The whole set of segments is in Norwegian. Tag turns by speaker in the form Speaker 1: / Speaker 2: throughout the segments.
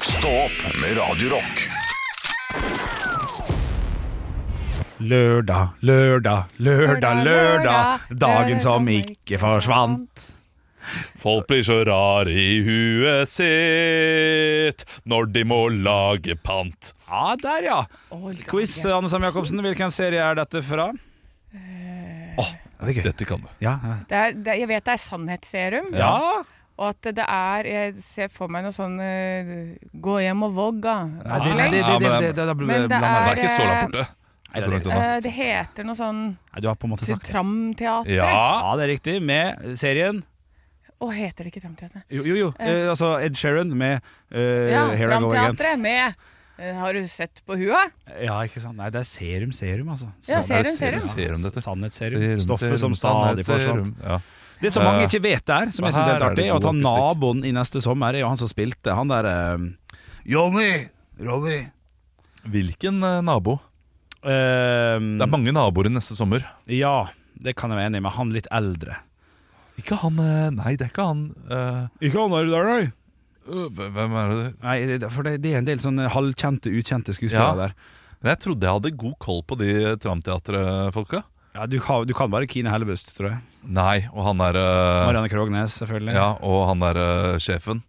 Speaker 1: Stå opp med Radio Rock.
Speaker 2: Lørdag, lørdag, lørdag,
Speaker 3: Lørdag,
Speaker 2: lørdag.
Speaker 3: lørdag,
Speaker 2: Dagen som
Speaker 3: lørdag
Speaker 2: ikke forsvant.
Speaker 4: Folk blir så rare i huet sitt når de må lage pant.
Speaker 2: Ja, der, ja. Quiz, Anne Sam Jacobsen. Hvilken serie er dette fra?
Speaker 3: Eh.
Speaker 2: Åh, det er gøy.
Speaker 4: Dette kan du.
Speaker 2: Ja, ja.
Speaker 3: Det er, det, jeg vet det er sannhetsserum,
Speaker 2: ja.
Speaker 3: og at det er Jeg ser for meg noe sånn eh, Gå hjem og vogga.
Speaker 2: Nei, det, nei, det, det, det, det, det, det ble
Speaker 3: Men det
Speaker 2: blanda
Speaker 4: Det
Speaker 2: der.
Speaker 4: er ikke så langt borte.
Speaker 2: Nei,
Speaker 4: Så langt
Speaker 2: det er-
Speaker 4: unna.
Speaker 3: Eh, det heter noe sånn
Speaker 2: Nei, Du har på en måte sagt det.
Speaker 3: Tramteatret.
Speaker 4: Ja.
Speaker 2: Ja, det er riktig. Med serien
Speaker 3: Å, heter det ikke Tramteatret?
Speaker 2: Jo, jo. jo. Eh, altså Ed Sheeran med eh,
Speaker 3: Ja,
Speaker 2: Here I Go Again.
Speaker 3: Tramteatret med eh, Har du sett på hua?
Speaker 2: Ja, ikke sant? Nei, det er serum, serum, altså.
Speaker 3: Ja, serum, serum.
Speaker 4: Serum, dette.
Speaker 2: Sannhetsserum.
Speaker 4: Serum,
Speaker 2: Stoffet som
Speaker 4: serum,
Speaker 2: stadig forsvant.
Speaker 4: serum. Ja.
Speaker 2: Det som mange
Speaker 4: Eh,
Speaker 2: ikke vet der, som jeg syns er
Speaker 4: her
Speaker 2: helt
Speaker 4: er
Speaker 2: artig,
Speaker 4: det
Speaker 2: er at han
Speaker 4: god akustikk.
Speaker 2: naboen i neste sommer er jo han som spilte. Han der eh, Johnny! Ronny!
Speaker 4: Hvilken eh, nabo? Det
Speaker 2: Eh,
Speaker 4: er mange naboer i neste sommer.
Speaker 2: ja, det kan jeg være enig med. Han litt eldre.
Speaker 4: Ikke han eh, Nei, det er ikke han. eh,
Speaker 2: Ikke han der, der, nei.
Speaker 4: øh, Hvem er det?
Speaker 2: Nei, det- for det, det er en del sånne halvkjente, ukjente skuespillere
Speaker 4: Ja.
Speaker 2: der.
Speaker 4: Men Jeg trodde jeg hadde god koll på de Tramteatret-folka.
Speaker 2: Ja, du, kan- du kan bare Kine Hellebust, tror jeg.
Speaker 4: Nei, og han der eh,
Speaker 2: Marianne Krognes, selvfølgelig.
Speaker 4: Ja, og han der eh, sjefen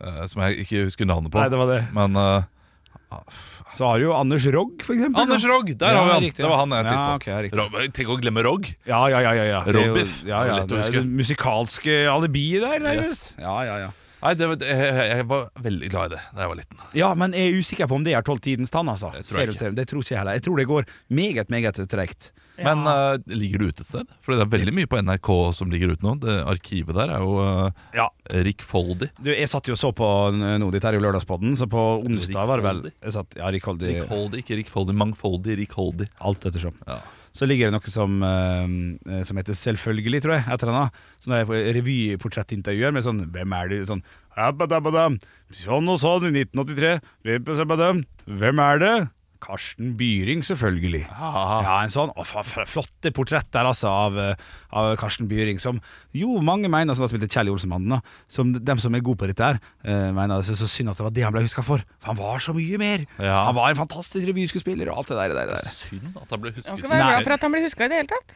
Speaker 4: eh, Som jeg ikke husker navnet på
Speaker 2: Nei, det var det.
Speaker 4: Men eh,
Speaker 2: Så har du jo Anders Rogg, for eksempel.
Speaker 4: Anders Rogg, der
Speaker 2: Ja,
Speaker 4: har vi han
Speaker 2: riktig, ja.
Speaker 4: Det var han jeg
Speaker 2: Ja,
Speaker 4: tenkte
Speaker 2: ok, ja, riktig.
Speaker 4: på Rob- Tenk å glemme Rogg
Speaker 2: Ja, ja, ja. ja, ja. Det er jo-
Speaker 4: Robbiff,
Speaker 2: Ja, ja,
Speaker 4: det er lett å
Speaker 2: det er
Speaker 4: huske.
Speaker 2: det musikalske alibiet der. der.
Speaker 4: Yes.
Speaker 2: Ja, ja, ja.
Speaker 4: Nei, det, var- jeg, jeg var veldig glad i det Da jeg var liten
Speaker 2: ja, men jeg er usikker på om det er tolvtidens tann, altså.
Speaker 4: Det tror jeg
Speaker 2: Ser,
Speaker 4: ikke.
Speaker 2: ser, det tror ikke jeg heller. Jeg tror det går meget, meget tregt.
Speaker 4: Men eh, ligger du ute et sted? Fordi det er veldig mye på NRK som ligger ute nå Det arkivet der er jo uh,
Speaker 2: Ja.
Speaker 4: Rick Foldy
Speaker 2: Du, jeg satt jo og så på n- nå ditt her i lørdagspodden, så på onsdag var det vel jeg satt, Ja, Rick Holdi.
Speaker 4: Rick Holdy, ikke Rick Foldy, Mangfoldy, Rick Holdy
Speaker 2: Alt ettersom.
Speaker 4: ja.
Speaker 2: Så ligger det noe som, eh, som heter Selvfølgelig, tror jeg, et eller annet. Sånne revyportrettintervjuer med sånn Hvem er du? Sånn «Abadabadam, Sånn og sånn i 1983. Abadabadam, Hvem er det? Karsten Byring, selvfølgelig.
Speaker 4: Ah.
Speaker 2: Ja, en sånn å, fa- fa- Flotte portrett der, altså, av, eh, av Karsten Byring, som jo mange mener som har spilt i Kjell Olsenmannen, da, som dem som er gode på dette her, eh, mener det er så- så synd at det var det han ble huska for. For han var så mye mer!
Speaker 4: Ja.
Speaker 2: Han var en fantastisk revyskuespiller og alt det der. Det der, det der.
Speaker 4: Synd at han ble husket
Speaker 3: Han skal
Speaker 4: som-
Speaker 3: være
Speaker 2: Nei.
Speaker 3: glad for at han blir huska i det hele tatt.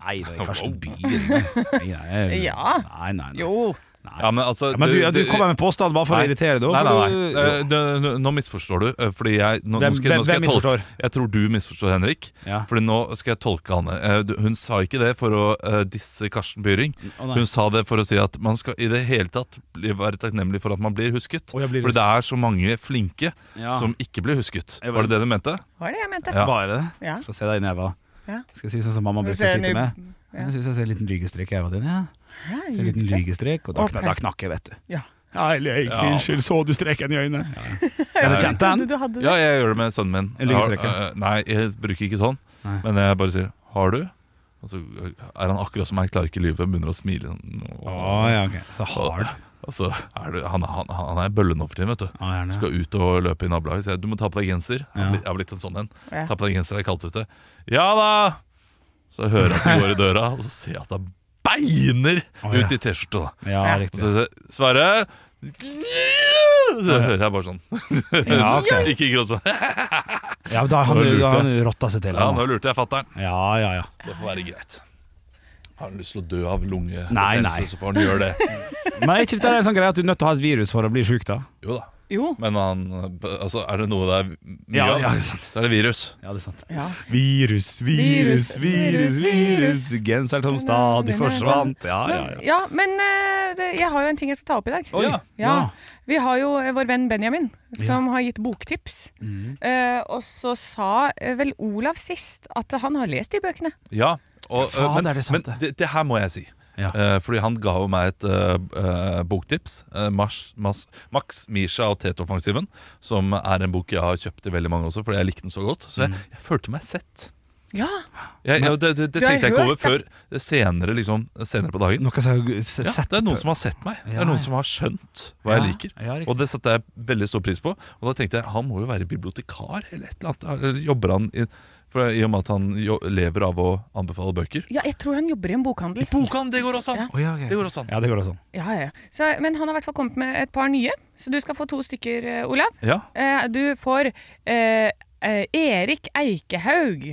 Speaker 2: Nei, det er
Speaker 4: Wow.
Speaker 2: Karsten Byring. Nei, nei,
Speaker 3: Ja.
Speaker 2: Nei, nei, nei.
Speaker 3: Jo.
Speaker 4: Ja, men altså
Speaker 2: Ja, men du, ja, du kommer med påstand bare for å
Speaker 4: Nei.
Speaker 2: irritere, da.
Speaker 4: Nei,
Speaker 2: for
Speaker 4: nei,
Speaker 2: du-
Speaker 4: nei. Eh, du- du- Nå misforstår du. eh, Fordi jeg, nå,
Speaker 2: Hvem-
Speaker 4: nå skal,
Speaker 2: hvem-
Speaker 4: nå skal
Speaker 2: hvem
Speaker 4: jeg
Speaker 2: misforstår?
Speaker 4: tolke Jeg tror du misforstår, Henrik.
Speaker 2: Ja.
Speaker 4: Fordi nå skal jeg tolke Hanne. Eh, du- Hun sa ikke det for å eh, disse Karsten Byring.
Speaker 2: Å, nei.
Speaker 4: Hun sa det for å si at man skal i det hele tatt bli, være takknemlig for at man blir husket.
Speaker 2: Å, jeg blir
Speaker 4: fordi det er så mange flinke
Speaker 2: Ja.
Speaker 4: som ikke blir husket.
Speaker 2: Jeg
Speaker 4: Var det det du mente?
Speaker 3: Var det jeg mente?
Speaker 4: Ja.
Speaker 2: Bare det?
Speaker 3: Ja.
Speaker 2: Få se deg i neva.
Speaker 3: Ja.
Speaker 2: Skal jeg si sånn som mamma
Speaker 3: Vi
Speaker 2: bruker å
Speaker 3: ser en
Speaker 2: sitte
Speaker 3: ny-
Speaker 2: med?
Speaker 3: ja.
Speaker 2: Jeg synes jeg ser en liten lygestrek i øynene dine. Ja.
Speaker 3: Ja,
Speaker 2: En liten lygestrek, og da,
Speaker 3: Og
Speaker 2: kna, da knakk jeg, vet du.
Speaker 3: Ja.
Speaker 2: Nei, lek,
Speaker 4: Ja.
Speaker 2: unnskyld, så du streken i øynene? Ja. Ja, du kjente
Speaker 3: Trodde
Speaker 2: den?
Speaker 3: Du hadde det.
Speaker 4: Ja, jeg gjør det med sønnen min.
Speaker 2: En lygestrek, ja.
Speaker 4: Ja, eh, Nei, jeg bruker ikke sånn.
Speaker 2: Nei.
Speaker 4: Men jeg bare sier 'har du'? Og så eh, er han akkurat som meg, klarer ikke lyve, begynner å smile. Åh.
Speaker 2: Å ja, ok. Så hard.
Speaker 4: Altså, er du, han, han, han er bølle nå for tiden, vet du.
Speaker 2: Å, gjerne.
Speaker 4: Skal ut og løpe i nabolaget. Sier jeg, du må ta på deg genser. Jeg har
Speaker 2: Ja.
Speaker 4: blitt- Jeg har blitt en sånn en.
Speaker 3: Ja.
Speaker 4: Ta på deg genser, det er kaldt ute. Ja da! Så jeg hører at han går i døra, og så ser jeg at han beiner
Speaker 2: Å, ja.
Speaker 4: ut i T-skjorta. da.
Speaker 2: Ja,
Speaker 3: Ja.
Speaker 4: Og
Speaker 2: riktig.
Speaker 4: så sier jeg, Sverre Så hører jeg bare sånn.
Speaker 2: Ja, ok.
Speaker 4: Ikke gråt sånn.
Speaker 2: Ja, da har han,
Speaker 4: Det var lurt,
Speaker 2: da har
Speaker 4: det.
Speaker 2: han rotta seg til.
Speaker 4: Ja,
Speaker 2: han,
Speaker 4: nå
Speaker 2: da.
Speaker 4: lurte jeg fatter'n.
Speaker 2: Ja, ja, ja.
Speaker 4: Det får være greit. Har han lyst til å dø av
Speaker 2: Nei, nei.
Speaker 4: lungebetennelse, så får han gjøre det.
Speaker 2: Men er ikke dette en sånn greie at du er nødt til å ha et virus for å bli sjuk, da?
Speaker 4: Jo da.
Speaker 3: Jo.
Speaker 4: Men han Altså, er det noe det er mye
Speaker 2: Ja,
Speaker 4: av,
Speaker 2: ja, det er sant.
Speaker 4: så er det virus.
Speaker 2: Ja, det er sant.
Speaker 3: Ja.
Speaker 2: Virus, virus, virus,
Speaker 3: virus,
Speaker 2: virus.
Speaker 3: virus.
Speaker 2: Genseren som stadig forsvant. Ja, ja, ja.
Speaker 3: Ja, men eh, det, jeg har jo en ting jeg skal ta opp i dag.
Speaker 2: Oi.
Speaker 4: Ja.
Speaker 3: Ja, Vi har jo eh, vår venn Benjamin, som har gitt boktips.
Speaker 2: Mm.
Speaker 3: Eh, og så sa eh, vel Olav sist at han har lest de bøkene.
Speaker 4: Ja, og,
Speaker 2: Ja,
Speaker 4: eh,
Speaker 2: faen,
Speaker 4: men,
Speaker 2: det er det sant,
Speaker 4: men
Speaker 2: det.
Speaker 4: det, det her må jeg si.
Speaker 2: Ja.
Speaker 4: Eh, fordi han ga jo meg et eh, eh, boktips. eh, Mars, Mas, Max, Misha og Mm. Tetoffensiven. Som er en bok jeg har kjøpt til veldig mange også, fordi jeg likte den så godt. Så jeg, jeg følte meg sett.
Speaker 3: Ja,
Speaker 4: Jeg, jeg, det, det, det
Speaker 3: Du har
Speaker 4: tenkte jeg ikke over
Speaker 3: hørt
Speaker 4: før senere, liksom, senere på dagen.
Speaker 2: Noe jeg har s-
Speaker 4: Ja,
Speaker 2: sett
Speaker 4: det er noen som har sett meg. Det
Speaker 2: Ja,
Speaker 4: er noen
Speaker 2: ja.
Speaker 4: som har skjønt hva jeg
Speaker 2: Ja,
Speaker 4: liker.
Speaker 2: ja, riktig.
Speaker 4: og det satte jeg veldig stor pris på. Og da tenkte jeg han må jo være bibliotekar eller et eller annet. Eller jobber han i, for I og med at han jo, lever av å anbefale bøker.
Speaker 3: ja jeg tror han jobber i en bokhandel.
Speaker 4: Bokhandel, det går også an!
Speaker 3: Ja.
Speaker 2: Å, ja, ok.
Speaker 4: Det går også an.
Speaker 2: Ja, det går også an.
Speaker 3: Ja, ja. Så, men han har i hvert fall kommet med et par nye, så du skal få to stykker, eh, Olav.
Speaker 4: Ja.
Speaker 3: Eh, du får eh, eh, Erik Eikehaug.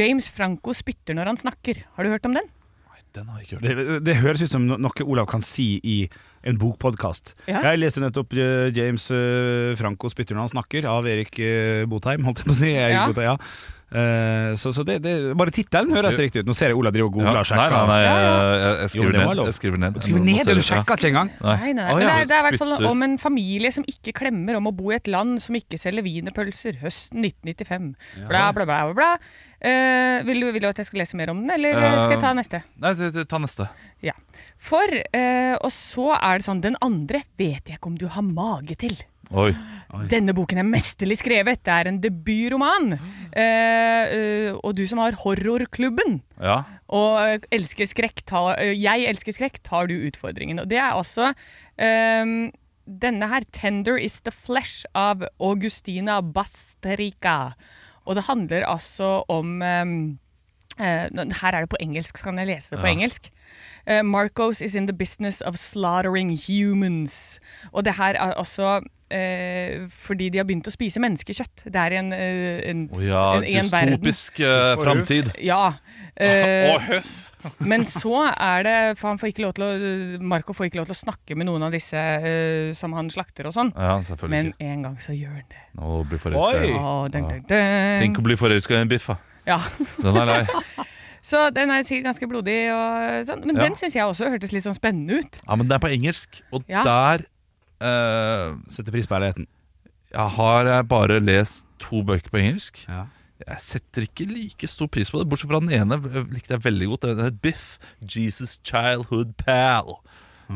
Speaker 3: James Franco spytter når han snakker. Har du hørt om den?
Speaker 4: Nei, den har jeg ikke hørt.
Speaker 2: Det, det høres ut som no- noe Olav kan si i en bokpodkast.
Speaker 3: Ja.
Speaker 2: Jeg leste nettopp eh, James eh, Franco spytter når han snakker, av Erik eh, Botheim, holdt jeg på å si. Erik
Speaker 3: Ja.
Speaker 2: Botheim, ja. Eh, så, så det, det, bare tittelen høres riktig ut. Nå ser jeg Olav driver og
Speaker 4: Ja.
Speaker 2: googler og
Speaker 4: Nei, nei,
Speaker 2: sjekker.
Speaker 4: nei, jeg, jeg, jeg
Speaker 2: Jo, det
Speaker 4: skriver
Speaker 2: må jeg
Speaker 4: ned.
Speaker 2: lov.
Speaker 4: Jeg skriver ned.
Speaker 2: Du skriver ned det, du
Speaker 4: Ja.
Speaker 2: sjekker ikke engang!
Speaker 3: Nei, nei.
Speaker 2: Å,
Speaker 3: Men det
Speaker 2: ja.
Speaker 3: er, det er i hvert fall
Speaker 4: Spytter.
Speaker 3: om en familie som ikke klemmer om å bo i et land som ikke selger wienerpølser høsten 1995. Bla, bla, bla, bla. bla. Eh, vil, du, vil du at jeg skal lese mer om den, eller eh, skal jeg ta
Speaker 4: Eh,
Speaker 3: neste?
Speaker 4: Nei, det- det- ta neste.
Speaker 3: Ja. For, eh, og så er det sånn Den andre vet jeg ikke om du har mage til.
Speaker 4: Oi.
Speaker 3: Denne boken er mesterlig skrevet. Det er en debutroman. Eh, eh, og du som har Horrorklubben
Speaker 4: Ja.
Speaker 3: og eh, elsker skrekk, ta, eh, jeg elsker skrekk, tar du utfordringen. Og det er også eh, denne her, 'Tender is the flesh' av Augustina Basterika. Og det handler altså om eh, Eh, nå- her er det på engelsk, så kan jeg lese det på engelsk. Eh, Marcos is in the business of slaughtering humans. Og det her er også eh, fordi de har begynt å spise menneskekjøtt. Det er i en, eh, en,
Speaker 4: Å ja,
Speaker 3: en, en verden.
Speaker 4: dystopisk uh,
Speaker 2: Forhuf.
Speaker 4: framtid.
Speaker 3: Ja. eh,
Speaker 4: Å, høff!
Speaker 3: men så er det For han får ikke lov til å Marco får ikke lov til å snakke med noen av disse eh, som han slakter og sånn.
Speaker 4: Ja, selvfølgelig
Speaker 3: Men
Speaker 4: ikke.
Speaker 3: en gang så gjør han det.
Speaker 4: Nå blir forelska.
Speaker 2: Oi.
Speaker 4: Ja.
Speaker 3: Å, dun, dun, dun.
Speaker 4: Tenk å bli forelska i en biff, da.
Speaker 3: Ja.
Speaker 4: Den er lei.
Speaker 3: Så den er sikkert ganske blodig og sånn. Men
Speaker 4: Ja.
Speaker 3: den syns jeg også hørtes litt sånn spennende ut.
Speaker 4: Ja, men den er på engelsk, og
Speaker 3: Ja.
Speaker 4: der eh,
Speaker 2: Setter pris på ærligheten.
Speaker 4: jeg har jeg bare lest to bøker på engelsk.
Speaker 2: Ja.
Speaker 4: Jeg setter ikke like stor pris på det, bortsett fra den ene eh, likte jeg veldig godt. Den het Biff, Jesus Childhood Pal,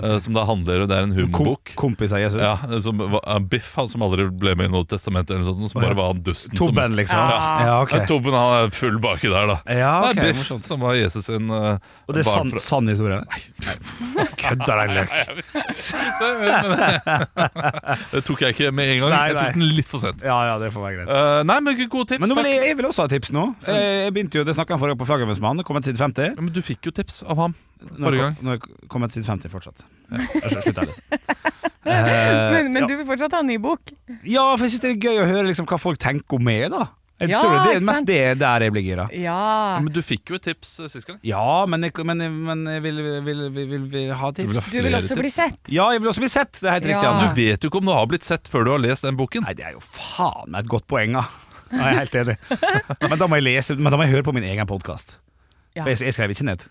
Speaker 4: eh, som da handler Det er en
Speaker 2: Kom,
Speaker 4: humorbok.
Speaker 2: kompis av Jesus.
Speaker 4: Ja, som, var- eh, Biff, han som aldri ble med i noe testament, eller noe sånt, som
Speaker 2: Å, ja.
Speaker 4: bare var han dusten. som-
Speaker 2: Tobben, liksom.
Speaker 3: Ja.
Speaker 2: Ja, ok.
Speaker 4: Eh, Tobben han er full baki der, da.
Speaker 2: Ja, ok,
Speaker 4: det er Biff,
Speaker 2: morsomt.
Speaker 4: som var Jesus sin eh,
Speaker 2: Og det
Speaker 4: barn
Speaker 2: er sann
Speaker 4: fra-
Speaker 2: sann historie? Nei. Kødder deg, løk.
Speaker 4: Jeg vet ikke. Det tok jeg ikke med en gang.
Speaker 2: Nei,
Speaker 4: jeg tok
Speaker 2: nei.
Speaker 4: den litt for sent.
Speaker 2: Ja, ja, det får være greit.
Speaker 4: Eh, nei, men gode tips.
Speaker 2: Men nå vil jeg,
Speaker 4: takk.
Speaker 2: jeg vil også ha tips nå. Eh, Jeg begynte jo, Det snakka han forrige gang på Flaggermusmannen. Kommet side 50.
Speaker 4: Ja, men du fikk jo tips av ham
Speaker 2: Nå er
Speaker 4: forrige gang.
Speaker 2: kom- Nå er kommet side 50 fortsatt. Jeg slutter å lese.
Speaker 3: Men, men
Speaker 2: Eh,
Speaker 3: du vil fortsatt ha en ny bok.
Speaker 2: Ja, for jeg syns det er gøy å høre liksom, hva folk tenker om meg, da. Jeg
Speaker 3: Ja,
Speaker 2: tror det, det er
Speaker 3: ikke
Speaker 2: mest
Speaker 3: sant?
Speaker 2: det der jeg blir gira.
Speaker 3: Ja.
Speaker 4: Ja, men du fikk jo et tips eh, sist gang.
Speaker 2: Ja, men jeg, men, jeg- men jeg vil, vil, vil, vil, vil ha
Speaker 4: Du vil ha
Speaker 2: tips.
Speaker 3: Du vil
Speaker 4: flere
Speaker 3: også bli
Speaker 4: tips.
Speaker 3: sett.
Speaker 2: Ja, jeg vil også bli sett. Det er helt riktig.
Speaker 3: Ja.
Speaker 2: Anne.
Speaker 4: Du vet jo ikke om du har blitt sett før du har lest den boken.
Speaker 2: Nei, det er jo faen meg et godt poeng, da. Ja, Jeg er helt enig. Men da må jeg lese Men da må jeg høre på min egen podkast.
Speaker 3: Ja.
Speaker 2: Jeg, jeg skrev ikke ned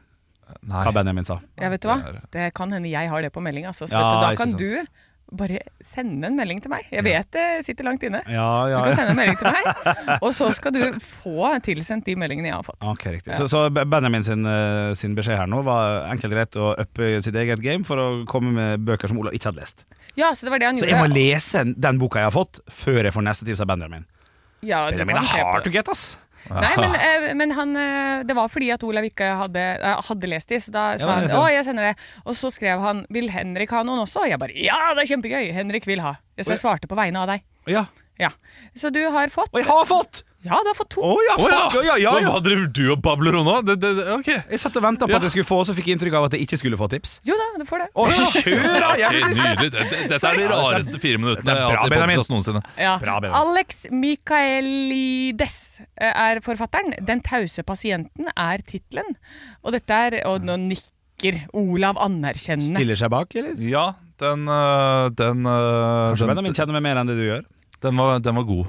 Speaker 2: hva
Speaker 4: Nei.
Speaker 2: Benjamin sa.
Speaker 3: Ja, vet du hva? Det kan hende jeg har det på melding. Altså.
Speaker 2: Ja,
Speaker 3: Så vet du, da
Speaker 2: ikke
Speaker 3: kan
Speaker 2: sant.
Speaker 3: du bare sende en melding til meg. Jeg vet det sitter langt inne.
Speaker 2: Ja,
Speaker 3: Du
Speaker 2: ja,
Speaker 3: kan
Speaker 2: ja.
Speaker 3: sende en melding til meg, og så skal du få tilsendt de meldingene jeg har fått.
Speaker 2: Ok, riktig. Så, så Benjamin sin, eh, sin beskjed her nå var enkelt og greit å uppe sitt eget game for å komme med bøker som Olav ikke hadde lest.
Speaker 3: Ja, så det var det han
Speaker 2: Så jeg må
Speaker 3: gjorde.
Speaker 2: lese den boka jeg har fått, før jeg får neste tips av Benjamin.
Speaker 3: Ja, du
Speaker 2: Benjamin
Speaker 3: kan
Speaker 2: er
Speaker 3: se på
Speaker 2: hard
Speaker 3: det.
Speaker 2: to get, ass!
Speaker 3: Nei, men, eh, men han, eh, det var fordi at Olav ikke hadde, eh, hadde lest de, så da sa
Speaker 2: det
Speaker 3: han
Speaker 2: ser jeg.
Speaker 3: å, jeg sender det. Og så skrev han vil Henrik ha noen også? Og jeg bare ja, det er kjempegøy! Henrik vil ha. Så jeg svarte på vegne av deg.
Speaker 2: Ja.
Speaker 3: Ja. Så du har fått
Speaker 2: Og jeg har fått!
Speaker 3: Ja, du har fått to.
Speaker 2: Å ja,
Speaker 4: Å ja!
Speaker 2: fuck! Ja, ja, ja,
Speaker 4: Hva driver du og babler om nå? Det, det, det, ok.
Speaker 2: Jeg satt og venta på
Speaker 4: Ja.
Speaker 2: at jeg skulle få, så fikk jeg inntrykk av at jeg ikke skulle få tips.
Speaker 3: Jo da, du får det.
Speaker 2: Å, kjør, da!
Speaker 4: Ok,
Speaker 2: Jeg vil bli sett!
Speaker 4: nydelig. Det- det- Dette er de rareste fire
Speaker 2: Det
Speaker 4: minuttene
Speaker 2: er
Speaker 4: jeg har
Speaker 2: bra,
Speaker 4: hatt i
Speaker 2: Benjamin.
Speaker 4: podcast noensinne.
Speaker 3: Ja.
Speaker 2: Bra, Benjamin.
Speaker 3: Alex Michaelides eh, er forfatteren. 'Den tause pasienten' er tittelen. Og dette er Og nå nikker Olav anerkjennende.
Speaker 2: Stiller seg bak, eller?
Speaker 4: Ja, den øh, Den, øh,
Speaker 2: Kanskje
Speaker 4: den,
Speaker 2: Benjamin kjenner meg mer enn det du gjør.
Speaker 4: den, var, den var god.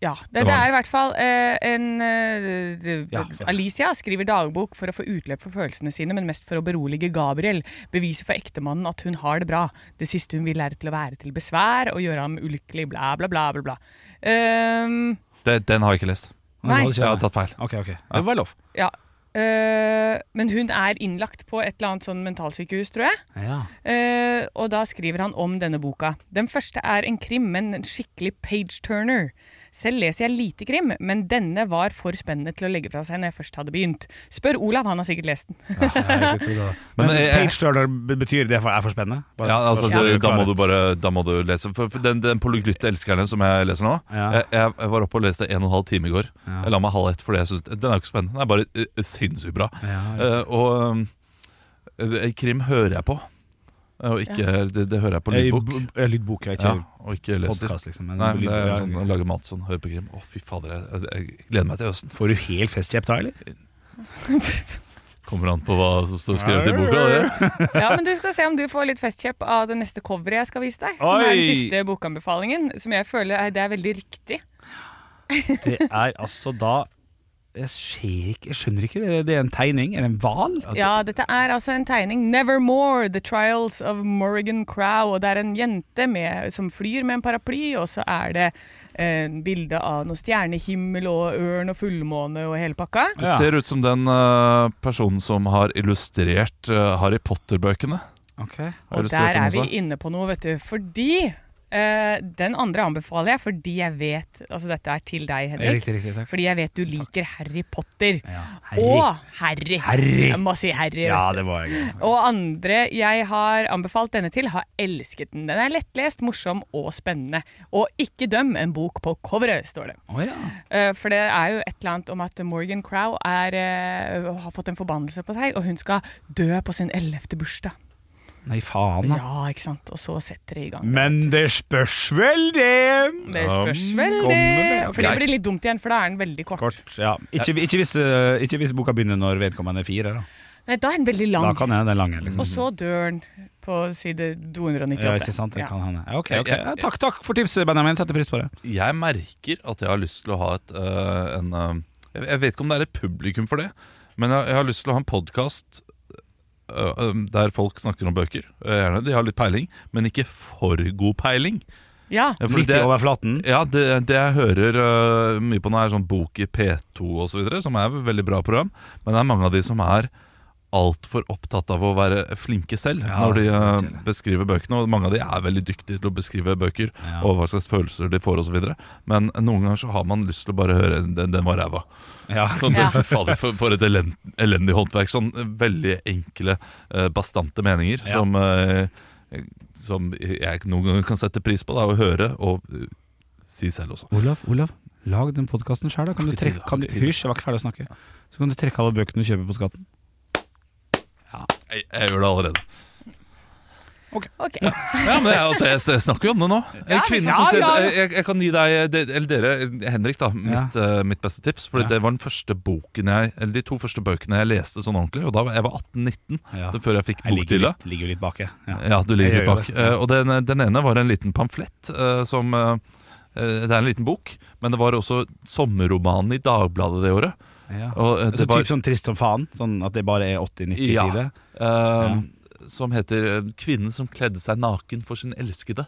Speaker 3: Ja. Det,
Speaker 4: Det
Speaker 3: det
Speaker 4: var
Speaker 3: er i hvert fall eh, en eh, d-
Speaker 2: Ja.
Speaker 3: Alicia skriver dagbok for å få utløp for følelsene sine, men mest for å berolige Gabriel. Bevise for ektemannen at hun har det bra. Det siste hun vil, er til å være til besvær og gjøre ham ulykkelig, bla, bla, bla, bla. bla. Ehm,
Speaker 4: Det, den har jeg ikke lest.
Speaker 3: Nei.
Speaker 2: Nå
Speaker 4: Jeg
Speaker 2: kjenner
Speaker 4: har
Speaker 2: jeg.
Speaker 4: tatt feil.
Speaker 2: Ok, ok. Det var lov.
Speaker 3: ja. Eh, men hun er innlagt på et eller annet sånn mentalsykehus, tror jeg.
Speaker 2: Ja.
Speaker 3: Eh, og da skriver han om denne boka. Den første er en krim, men en skikkelig page-turner. Selv leser jeg lite krim, men denne var for spennende til å legge fra seg når jeg først hadde begynt. Spør Olav, han har sikkert lest den.
Speaker 2: Men eh,
Speaker 4: Men jeg-
Speaker 2: page turner b- betyr det for, er for spennende? Bare-
Speaker 4: Ja, altså,
Speaker 2: bare-
Speaker 4: det, da, må du bare, da må du lese. For for den, den polyglytte elskeren som jeg leser nå
Speaker 2: Ja.
Speaker 4: jeg, jeg var oppe og leste en og en halv time i går.
Speaker 2: Ja.
Speaker 4: Jeg la meg halv ett, fordi jeg synes, den er jo ikke spennende. Den er bare eh, sinnssykt bra.
Speaker 2: Ja, ja.
Speaker 4: Eh, og eh, krim hører jeg på. Eh, Og ikke, det, det hører jeg på lydbok.
Speaker 2: Jeg- b- Lydbok, ja. Ikke
Speaker 4: Ja, og ikke leser.
Speaker 2: podcast, liksom. Men
Speaker 4: Nei, men det
Speaker 2: lydbok,
Speaker 4: er
Speaker 2: ja.
Speaker 4: sånn, å lage mat sånn, høre på krim. Å, fy fader, jeg, jeg gleder meg til høsten.
Speaker 2: Får du helt festkjepp da, eller?
Speaker 4: Kommer an på hva som står skrevet i boka. Det.
Speaker 3: Ja, men du skal se om du får litt festkjepp av det neste coveret jeg skal vise deg. Som er
Speaker 2: Oi!
Speaker 3: den siste bokanbefalingen, som jeg føler er, det er veldig riktig.
Speaker 2: Det er altså da Jeg, ser ikke, jeg skjønner ikke. Det, det er en tegning. Er det en hval?
Speaker 3: Ja, dette er altså en tegning. 'Nevermore The Trials of Morrigan Crow'. Og det er en jente med, som flyr med en paraply, og så er det eh, bilde av noe stjernehimmel og ørn og fullmåne og hele pakka.
Speaker 4: det ser ut som den eh, personen som har illustrert eh, Harry Potter-bøkene.
Speaker 2: Ok.
Speaker 4: Har
Speaker 3: Og
Speaker 4: illustrert
Speaker 3: der
Speaker 4: dem
Speaker 3: er vi
Speaker 4: også.
Speaker 3: inne på noe, vet du. Fordi eh, Den andre anbefaler jeg fordi jeg vet Altså, dette er til deg, Henrik.
Speaker 2: Riktig, riktig. Takk.
Speaker 3: Fordi jeg vet du liker Harry Potter.
Speaker 2: Ja.
Speaker 3: Og Harry.
Speaker 2: Harry.
Speaker 3: Jeg må si Harry.
Speaker 2: Ja, det var jeg.
Speaker 3: Og andre jeg har anbefalt denne til, har elsket den. Den er lettlest, morsom og spennende. Og ikke døm en bok på coveret, står det.
Speaker 2: Å ja.
Speaker 3: Eh, For det er jo et eller annet om at Morgan Crow er, eh, har fått en forbannelse på seg, og hun skal dø på sin ellevte bursdag.
Speaker 2: Nei, faen. da.
Speaker 3: Ja, ikke sant? Og så setter det i gang.
Speaker 2: Men det spørs vel, det.
Speaker 3: Det spørs vel,
Speaker 2: kommer
Speaker 3: det.
Speaker 2: det.
Speaker 3: For det blir litt dumt igjen, for da er den veldig kort.
Speaker 2: Kort, ja. Ikke, ikke, hvis, eh, ikke hvis boka begynner når vedkommende er fire. Da,
Speaker 3: Nei, da er den veldig lang.
Speaker 2: da kan jeg den lange. Liksom.
Speaker 3: Og så dør den på side 298.
Speaker 2: Ja, ikke sant? Det
Speaker 3: Ja.
Speaker 2: kan hende. Ja, ok,
Speaker 4: Ja,
Speaker 2: ok.
Speaker 4: ja,
Speaker 2: Ja, takk, takk for tipset, Benjamin. Setter pris på det.
Speaker 4: Jeg merker at jeg har lyst til å ha et eh, en, eh, jeg, jeg vet ikke om det er et publikum for det, men jeg, jeg har lyst til å ha en podkast der folk snakker om bøker. Eh, gjerne, De har litt peiling, men ikke for god peiling.
Speaker 3: Ja.
Speaker 4: Ja, for
Speaker 2: Litt i
Speaker 4: det-
Speaker 2: overflaten.
Speaker 4: Ja, det, det jeg hører øh, mye på nå er sånn bok i P2 og så videre, som er et veldig bra program, men det er mange av de som er altfor opptatt av å være flinke selv
Speaker 2: Ja,
Speaker 4: når de
Speaker 2: så
Speaker 4: øh,
Speaker 2: kjedelig.
Speaker 4: beskriver bøkene, og mange av de er veldig dyktige til å beskrive bøker
Speaker 2: Ja.
Speaker 4: og hva slags følelser de får og så videre, men noen ganger så har man lyst til å bare høre den, den var ræva.
Speaker 2: Ja.
Speaker 4: Sånn,
Speaker 3: Ja.
Speaker 4: fy Fader, for, for et elend, elendig håndverk. Sånn eh, veldig enkle, eh, bastante meninger
Speaker 2: Ja.
Speaker 4: som, eh, som jeg noen ganger kan sette pris på da, å høre og eh, si selv også.
Speaker 2: Olav, Olav, lag den podkasten sjøl. Kan
Speaker 4: Har
Speaker 2: du
Speaker 4: ikke tid,
Speaker 2: trekke kan
Speaker 4: har
Speaker 2: du,
Speaker 4: ikke tid.
Speaker 2: Hysj, jeg var ikke ferdig å snakke. Så kan du trekke alle bøkene du kjøper på skatten.
Speaker 4: Jeg, jeg gjør det allerede.
Speaker 3: Ok.
Speaker 4: Ja, men jeg, altså, jeg, jeg snakker jo om det nå. En kvinne som
Speaker 2: ja, ja.
Speaker 4: Jeg, jeg kan gi deg, eh, det- eller dere, Henrik, da, mitt, eh, mitt beste tips. For
Speaker 2: Ja.
Speaker 4: det var den første boken jeg, eller de to første bøkene jeg leste sånn ordentlig. Og da var jeg var 18-19,
Speaker 2: Ja.
Speaker 4: det- før jeg fikk
Speaker 2: Jeg ligger,
Speaker 4: bokdilla.
Speaker 2: litt, ligger jo litt bak, jeg. Ja.
Speaker 4: Ja, du ligger
Speaker 2: Jeg
Speaker 4: litt
Speaker 2: gjør
Speaker 4: bak.
Speaker 2: jo det.
Speaker 4: Eh, og den, den ene var en liten pamflett eh, som eh, eh, Det er en liten bok, men det var også sommerromanen i Dagbladet det året.
Speaker 2: Ja.
Speaker 4: Og, eh,
Speaker 2: Så
Speaker 4: det var,
Speaker 2: typ sånn trist som faen? Sånn at det bare er 80-90
Speaker 4: Ja.
Speaker 2: sider?
Speaker 4: eh, Som heter eh, 'Kvinnen som kledde seg naken for sin elskede'.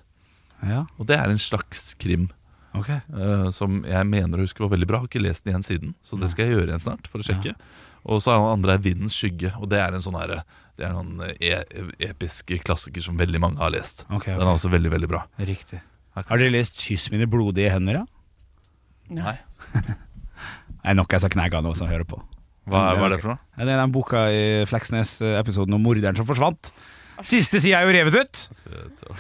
Speaker 2: Ja,
Speaker 4: Og det er en slags krim
Speaker 2: ok.
Speaker 4: eh, som jeg mener å huske var veldig bra. Har ikke lest den igjen siden, så det skal jeg gjøre igjen snart for å sjekke. Og så er den andre er 'Vindens skygge', og det er en sånn herre det er en e episk klassiker som veldig mange har lest.
Speaker 2: Ok, ok.
Speaker 4: Den er også veldig, veldig bra.
Speaker 2: Riktig.
Speaker 4: Her kan-
Speaker 2: Har dere lest 'Kyss mine blodige hender'? Ja?
Speaker 4: Nei.
Speaker 2: Nei, nok jeg sa knegga nå som hører på.
Speaker 4: Hva er, hva er det for noe?
Speaker 2: Ja, Det er den boka i Fleksnes-episoden om morderen som forsvant. Siste sida er jo revet ut!
Speaker 4: Eh,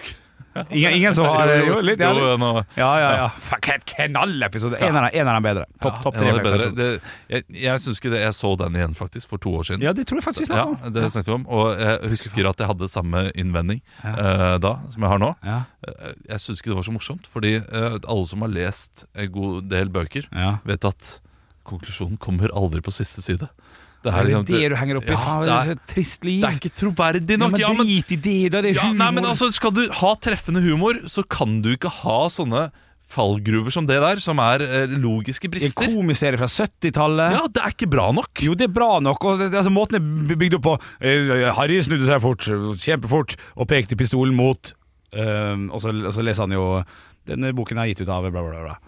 Speaker 2: Ingen, ingen som har Jo, litt. Ja,
Speaker 4: Jo,
Speaker 2: litt.
Speaker 4: jo, nå-
Speaker 2: ja, ja. ja. Fuck, helt knallepisode! En av dem- en av dem bedre. Topp topp
Speaker 4: Ja,
Speaker 2: tre.
Speaker 4: det er bedre.
Speaker 2: Fleksnes-episoder.
Speaker 4: Det- Jeg, jeg syns ikke det. Jeg så den igjen faktisk for to år siden.
Speaker 2: Ja, det tror jeg faktisk vi
Speaker 4: Ja,
Speaker 2: snakker om.
Speaker 4: det snakket vi om, og jeg husker at jeg hadde samme innvending eh, da som jeg har nå.
Speaker 2: Ja.
Speaker 4: Eh, Jeg syns ikke det var så morsomt, fordi eh, alle som har lest en god del bøker,
Speaker 2: Ja.
Speaker 4: vet at konklusjonen kommer aldri på siste side. Det
Speaker 2: Er det
Speaker 4: liksom-
Speaker 2: det du henger opp i?
Speaker 4: Ja,
Speaker 2: Faen, det er så trist liv.
Speaker 4: det er ikke troverdig
Speaker 2: Ja,
Speaker 4: nok!
Speaker 2: men
Speaker 4: Ja, men
Speaker 2: drit i det, da. Det er
Speaker 4: ja, nei, men
Speaker 2: humor.
Speaker 4: altså, Skal du ha treffende humor, så kan du ikke ha sånne fallgruver som det der, som er eh, logiske
Speaker 2: Det er
Speaker 4: brister.
Speaker 2: En komiserie fra 70-tallet.
Speaker 4: Ja, det er ikke bra nok.
Speaker 2: Jo, det er bra nok. Og det, altså, måten det er bygd opp på eh, Harry snudde seg fort, kjempefort, og pekte pistolen mot eh, og, så, og så leser han jo Denne boken er gitt ut av bla, bla, bla.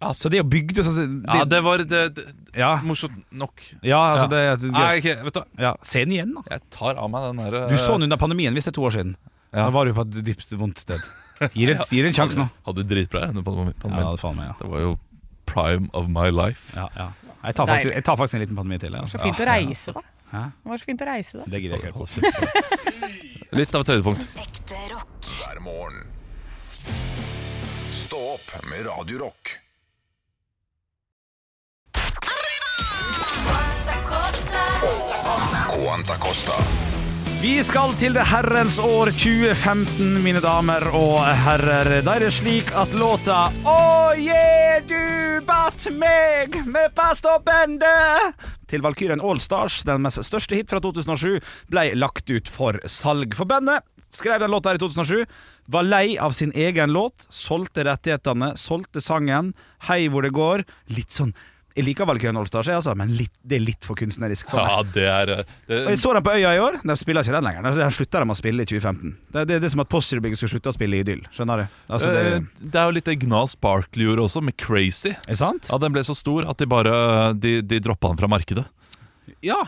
Speaker 4: Ja.
Speaker 2: Så det er jo bygd altså, det,
Speaker 4: Ja, det var det, det,
Speaker 2: ja,
Speaker 4: morsomt nok.
Speaker 2: ja, altså det,
Speaker 4: Ja.
Speaker 2: det,
Speaker 4: Nei, ok, vet du hva.
Speaker 2: ja. Se den igjen, da.
Speaker 4: Jeg tar av meg den eh, derre
Speaker 2: Du så den under pandemien hvis det er to år siden.
Speaker 4: Ja.
Speaker 2: Da var du på et dypt vondt sted. Gir det gir det en sjanse nå.
Speaker 4: Hadde dritbra jeg, under pandemi-
Speaker 2: Ja,
Speaker 4: pandemien.
Speaker 2: faen meg, ja.
Speaker 4: Det var jo prime of my life.
Speaker 2: Ja, ja. Jeg, tar faktisk, jeg tar faktisk en liten pandemi til. jeg,
Speaker 3: Så
Speaker 2: Altså.
Speaker 3: fint å reise, da.
Speaker 2: Hæ?
Speaker 3: Det var så fint å reise, da.
Speaker 2: Det gidder jeg ikke høre på.
Speaker 4: Hold kjeft. Litt av et høydepunkt.
Speaker 5: Ekte rock.
Speaker 1: hver morgen. Stå opp med Radio Rock. Quanta Costa.
Speaker 2: Vi skal til det herrens år 2015, mine damer og herrer. Da er det slik at låta Å yeah, du batt meg med fast og bende til Valkyrien Allstars, den mest største hit fra 2007, ble lagt ut for salg. For bandet skrev den låta her i 2007, var lei av sin egen låt, solgte rettighetene, solgte sangen, Hei hvor det går. Litt sånn Jeg liker Valkyrien Allstars, jeg, altså, men litt, det er litt for kunstnerisk for meg.
Speaker 4: Ja, det er eh, det,
Speaker 2: Og Jeg så dem på Øya i år. De spiller ikke den lenger. De- De slutta de å spille i 2015. Det, det, det er som at Postgirobygget skulle slutte å spille i Idyll. Skjønner du? Altså, det,
Speaker 4: eh, det er jo litt det Gnas Barkley gjorde også, med Crazy.
Speaker 2: er det sant?
Speaker 4: Ja, Den ble så stor at de bare De, de droppa den fra markedet.
Speaker 2: Ja.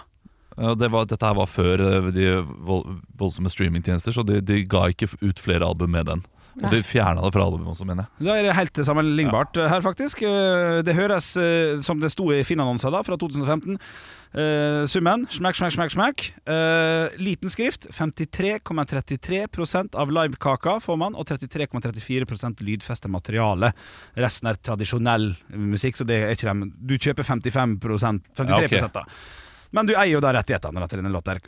Speaker 4: Ja, Det var, dette her var før eh, de vold- voldsomme streamingtjenester, så de, de ga ikke ut flere album med den. Og de fjerna det fra albumet også, mener jeg.
Speaker 2: Da er det helt sammenlignbart eh, her, faktisk. Eh, Det høres eh, som det sto i Finn-annonsa da, fra 2015. Eh, summen smekk, smekk, smekk. smekk Eh, Liten skrift. 53,33 av livekaka får man, og 33,34 lydfester materiale. Resten er tradisjonell musikk, så det er ikke dem. Du kjøper 55 53
Speaker 4: Ja, ok.
Speaker 2: da. Men du eier jo da rettighetene da, til denne låta. her.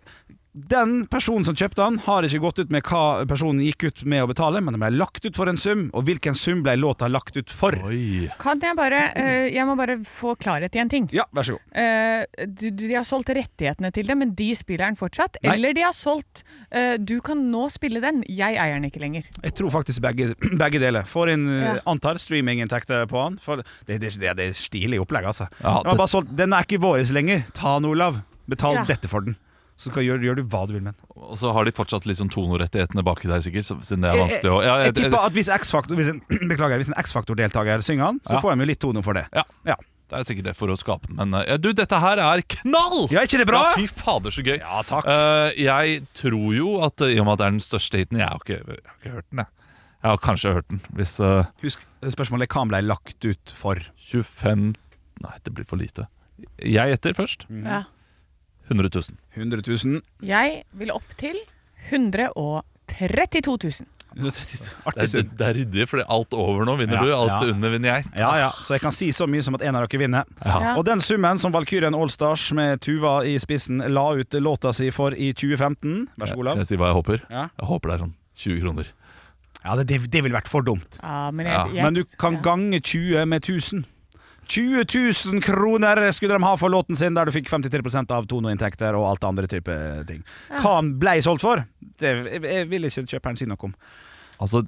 Speaker 2: Den personen som kjøpte den, har ikke gått ut med hva personen gikk ut med å betale, men den ble lagt ut for en sum, og hvilken sum ble låta lagt ut for?
Speaker 4: Oi.
Speaker 3: Kan jeg bare eh, Jeg må bare få klarhet i en ting.
Speaker 2: Ja, vær så god.
Speaker 3: Eh, du, du- de har solgt rettighetene til det, men de spiller den fortsatt.
Speaker 2: Nei.
Speaker 3: Eller de har solgt eh, Du kan nå spille den, jeg eier den ikke lenger.
Speaker 2: Jeg tror faktisk begge, begge deler. Får inn
Speaker 3: Ja.
Speaker 2: eh, antar streaminginntekter på han. For det, det, det, det er stilig opplegg, altså.
Speaker 4: Ja,
Speaker 2: Den, har
Speaker 4: det-
Speaker 2: bare solgt, den er ikke vår lenger. Ta den, Olav. Betal
Speaker 3: Ja.
Speaker 2: dette for den. Så skal, gjør, gjør du hva du vil med den.
Speaker 4: Og så har de fortsatt liksom tonorettighetene baki der, sikkert, så- siden det er vanskelig å ja,
Speaker 2: Jeg, jeg,
Speaker 4: Eh, det-
Speaker 2: tipper at hvis X-Faktor Hvis en, beklager, hvis en X-Faktor-deltaker synger den, så
Speaker 4: Ja.
Speaker 2: får de jo litt tono for det.
Speaker 4: Ja.
Speaker 2: Ja.
Speaker 4: Det er sikkert det for å skape den, men eh, ja, du, dette her er knall!
Speaker 2: Ja, ikke det bra?
Speaker 4: Ja, fy fader, så gøy.
Speaker 2: Ja, takk.
Speaker 4: Eh, jeg tror jo at eh, i og med at det er den største hiten Jeg har ikke, jeg har ikke hørt den, jeg. Jeg har kanskje hørt den hvis eh,
Speaker 2: Husk spørsmålet hva han ble lagt ut for.
Speaker 4: 25 Nei, det blir for lite. Jeg gjetter først.
Speaker 2: Mm. Mhm.
Speaker 3: Ja.
Speaker 4: 100 000.
Speaker 2: 100 000.
Speaker 3: Jeg vil opp til 132 000.
Speaker 2: 132.
Speaker 4: Det er,
Speaker 2: Artig
Speaker 4: det,
Speaker 2: sum.
Speaker 4: det er ryddig, fordi alt over nå vinner
Speaker 2: Ja,
Speaker 4: du, alt
Speaker 2: ja.
Speaker 4: under vinner jeg.
Speaker 2: Ja, ja. Så jeg kan si så mye som at en av dere vinner.
Speaker 3: Ja.
Speaker 2: Og den summen som Valkyrien Allstars med Tuva i spissen la ut låta si for i 2015 Vær så god, Olav.
Speaker 4: Jeg sier hva jeg håper.
Speaker 2: Ja.
Speaker 4: Jeg håper det er sånn 20 kroner.
Speaker 2: Ja, det, det, det ville vært for dumt.
Speaker 3: Ja, men, jeg,
Speaker 4: Ja.
Speaker 3: jeg,
Speaker 2: Men du kan
Speaker 3: ja.
Speaker 2: gange 20 med 1000. 20 000 kroner skulle de ha for låten sin, der du fikk 53 av tonoinntekter og alt andre type ting. Hva han ble solgt for, det jeg, jeg vil ikke kjøperen si noe om.
Speaker 4: Altså,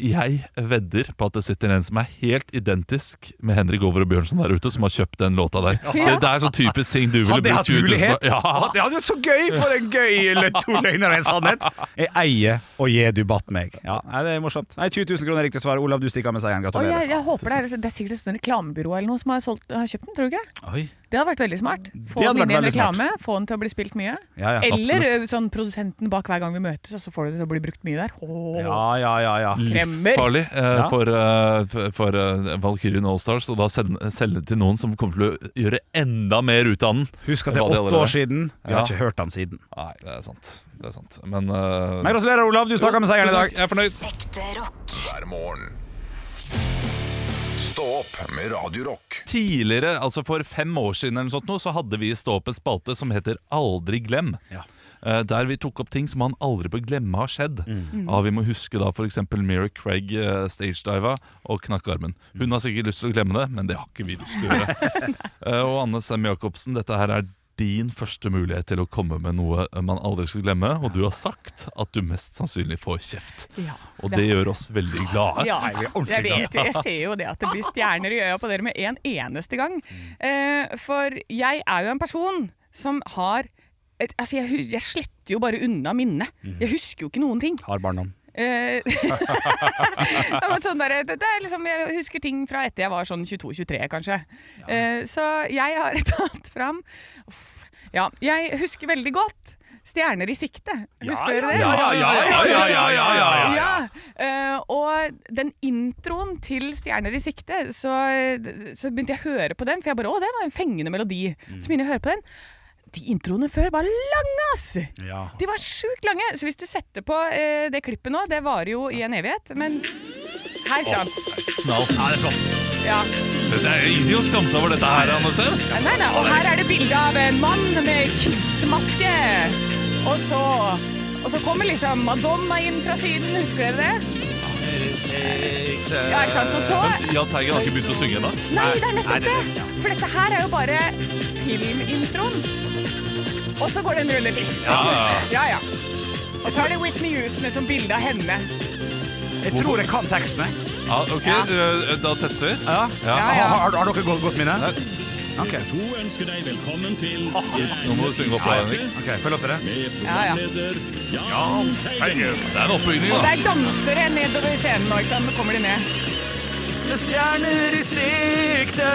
Speaker 4: jeg vedder på at det sitter en som er helt identisk med Henrik Over og Bjørnson der ute, som har kjøpt den låta der. Det, det er sånn typisk ting du ville
Speaker 2: Hadde
Speaker 4: brukt
Speaker 2: jeg hatt
Speaker 4: 20 000
Speaker 2: mulighet?
Speaker 4: på.
Speaker 2: Å, Det hadde vært så gøy for en gøy lø- to løgner og en sannhet. Jeg eier og gir du batt meg. Ja, nei, Det er morsomt. Nei, 20 000 kroner er riktig svar. Olav, du stikker av med seieren.
Speaker 3: Å, jeg,
Speaker 2: Gratulerer.
Speaker 3: jeg håper det er, det er sikkert et sånt reklamebyrå eller noe som har, solgt, har kjøpt den, tror du ikke?
Speaker 4: Ja. Oi.
Speaker 3: Det hadde vært veldig smart. Få
Speaker 2: hadde
Speaker 3: den
Speaker 2: vært
Speaker 3: inn i en
Speaker 2: veldig smart.
Speaker 3: reklame, få den til å bli spilt mye.
Speaker 2: Ja, ja,
Speaker 3: eller
Speaker 2: absolutt.
Speaker 3: ø, sånn produsenten bak hver gang vi møtes, og så får du det til å bli brukt mye der. Åh.
Speaker 2: Ja, ja, ja, ja.
Speaker 4: Livsfarlig eh,
Speaker 2: Ja.
Speaker 4: for, eh, for eh, Valkyrien Allstars, og da selge selge den til noen som kommer til å gjøre enda mer ut av den.
Speaker 2: Husk at det
Speaker 4: Hva
Speaker 2: er
Speaker 4: det
Speaker 2: åtte
Speaker 4: allerede
Speaker 2: år siden. Vi har
Speaker 4: Ja.
Speaker 2: ikke hørt han siden.
Speaker 4: Nei, det er sant. Det er sant. Men, eh,
Speaker 2: Men gratulerer, Olav. Du stakk av med seieren i dag.
Speaker 4: Jeg er fornøyd.
Speaker 5: Ekte rock.
Speaker 1: hver morgen. Stå opp med Radio Rock.
Speaker 4: Tidligere, altså for fem år siden eller noe sånt, nå, så hadde vi i Stå opp en spalte som heter Aldri glem.
Speaker 2: Ja.
Speaker 4: Eh, Der vi tok opp ting som man aldri bør glemme har skjedd.
Speaker 3: Mm.
Speaker 4: Ja, vi må huske da f.eks. Mira Craig eh, stagediva og knakk armen. Hun har sikkert lyst til å glemme det, men det har ikke vi lyst til å gjøre. Eh, og Anne Sem Jacobsen, dette her er din første mulighet til å komme med noe eh, man aldri skal glemme. Og du har sagt at du mest sannsynlig får kjeft.
Speaker 3: Ja.
Speaker 4: Og det gjør oss veldig glade.
Speaker 3: Ja,
Speaker 2: jeg
Speaker 3: jeg,
Speaker 2: er ordentlig
Speaker 3: vet, jo, jeg ser jo det at det blir stjerner i øya på dere med en eneste gang.
Speaker 2: Mm.
Speaker 3: Eh, for jeg er jo en person som har et, Altså, jeg, hus- jeg sletter jo bare unna minnet.
Speaker 2: Mm.
Speaker 3: Jeg husker jo ikke noen ting.
Speaker 2: Har barndom.
Speaker 3: Eh, ja, men sånn der, det, det er liksom, jeg husker ting fra etter jeg var sånn 22-23, kanskje. Eh, så jeg har tatt fram Uff. Ja, jeg husker veldig godt stjerner i sikte. Husker
Speaker 2: ja,
Speaker 3: dere det?
Speaker 4: Ja, ja, ja, ja, ja, ja, ja, ja.
Speaker 3: Ja, eh, og den introen til Stjerner i sikte, så, så begynte jeg å høre på den, for jeg bare, å, det var en fengende melodi. Så begynte jeg å høre på den. De introene før var lange, ass!
Speaker 2: Ja.
Speaker 3: De var sjukt lange, så hvis du setter på eh, det klippet nå, det varer jo i en evighet, men her, ikke sant?
Speaker 4: Knall. det er flott.
Speaker 3: Ja.
Speaker 4: Det er jo ingenting å skamme seg over dette her, Anne Sev.
Speaker 3: Nei, nei, og her er det bilde av en mann med kissmaske. Og så, og så kommer liksom Madonna inn fra siden, husker dere det? Ja, ikke sant? Og så-
Speaker 4: Men Jahn Teigen har ikke begynt å synge ennå.
Speaker 3: Nei, det er nettopp det! For dette her er jo bare filmintroen. Og så går det en runde til.
Speaker 4: Ja, ja.
Speaker 3: Ja, ja. Og så er det Whitney Houston, et sånt bilde av henne.
Speaker 2: Jeg tror jeg kan tekstene.
Speaker 4: Ja, ok,
Speaker 3: Ja.
Speaker 4: eh, da tester vi.
Speaker 2: Ja.
Speaker 3: Ja,
Speaker 2: Har,
Speaker 3: ja.
Speaker 2: har, har dere godt, godt minne? Ok,
Speaker 5: To ønsker deg velkommen til
Speaker 4: Nå må du synge opp, Henrik.
Speaker 2: ok, følg opp dere.
Speaker 5: Med
Speaker 3: Ja, ja.
Speaker 5: programleder Jan Teigen.
Speaker 4: Det er en oppbygning,
Speaker 3: Og
Speaker 4: da.
Speaker 3: der danser det nedover scenen nå, ikke sant? Nå kommer de ned.
Speaker 2: Med stjerner i sikte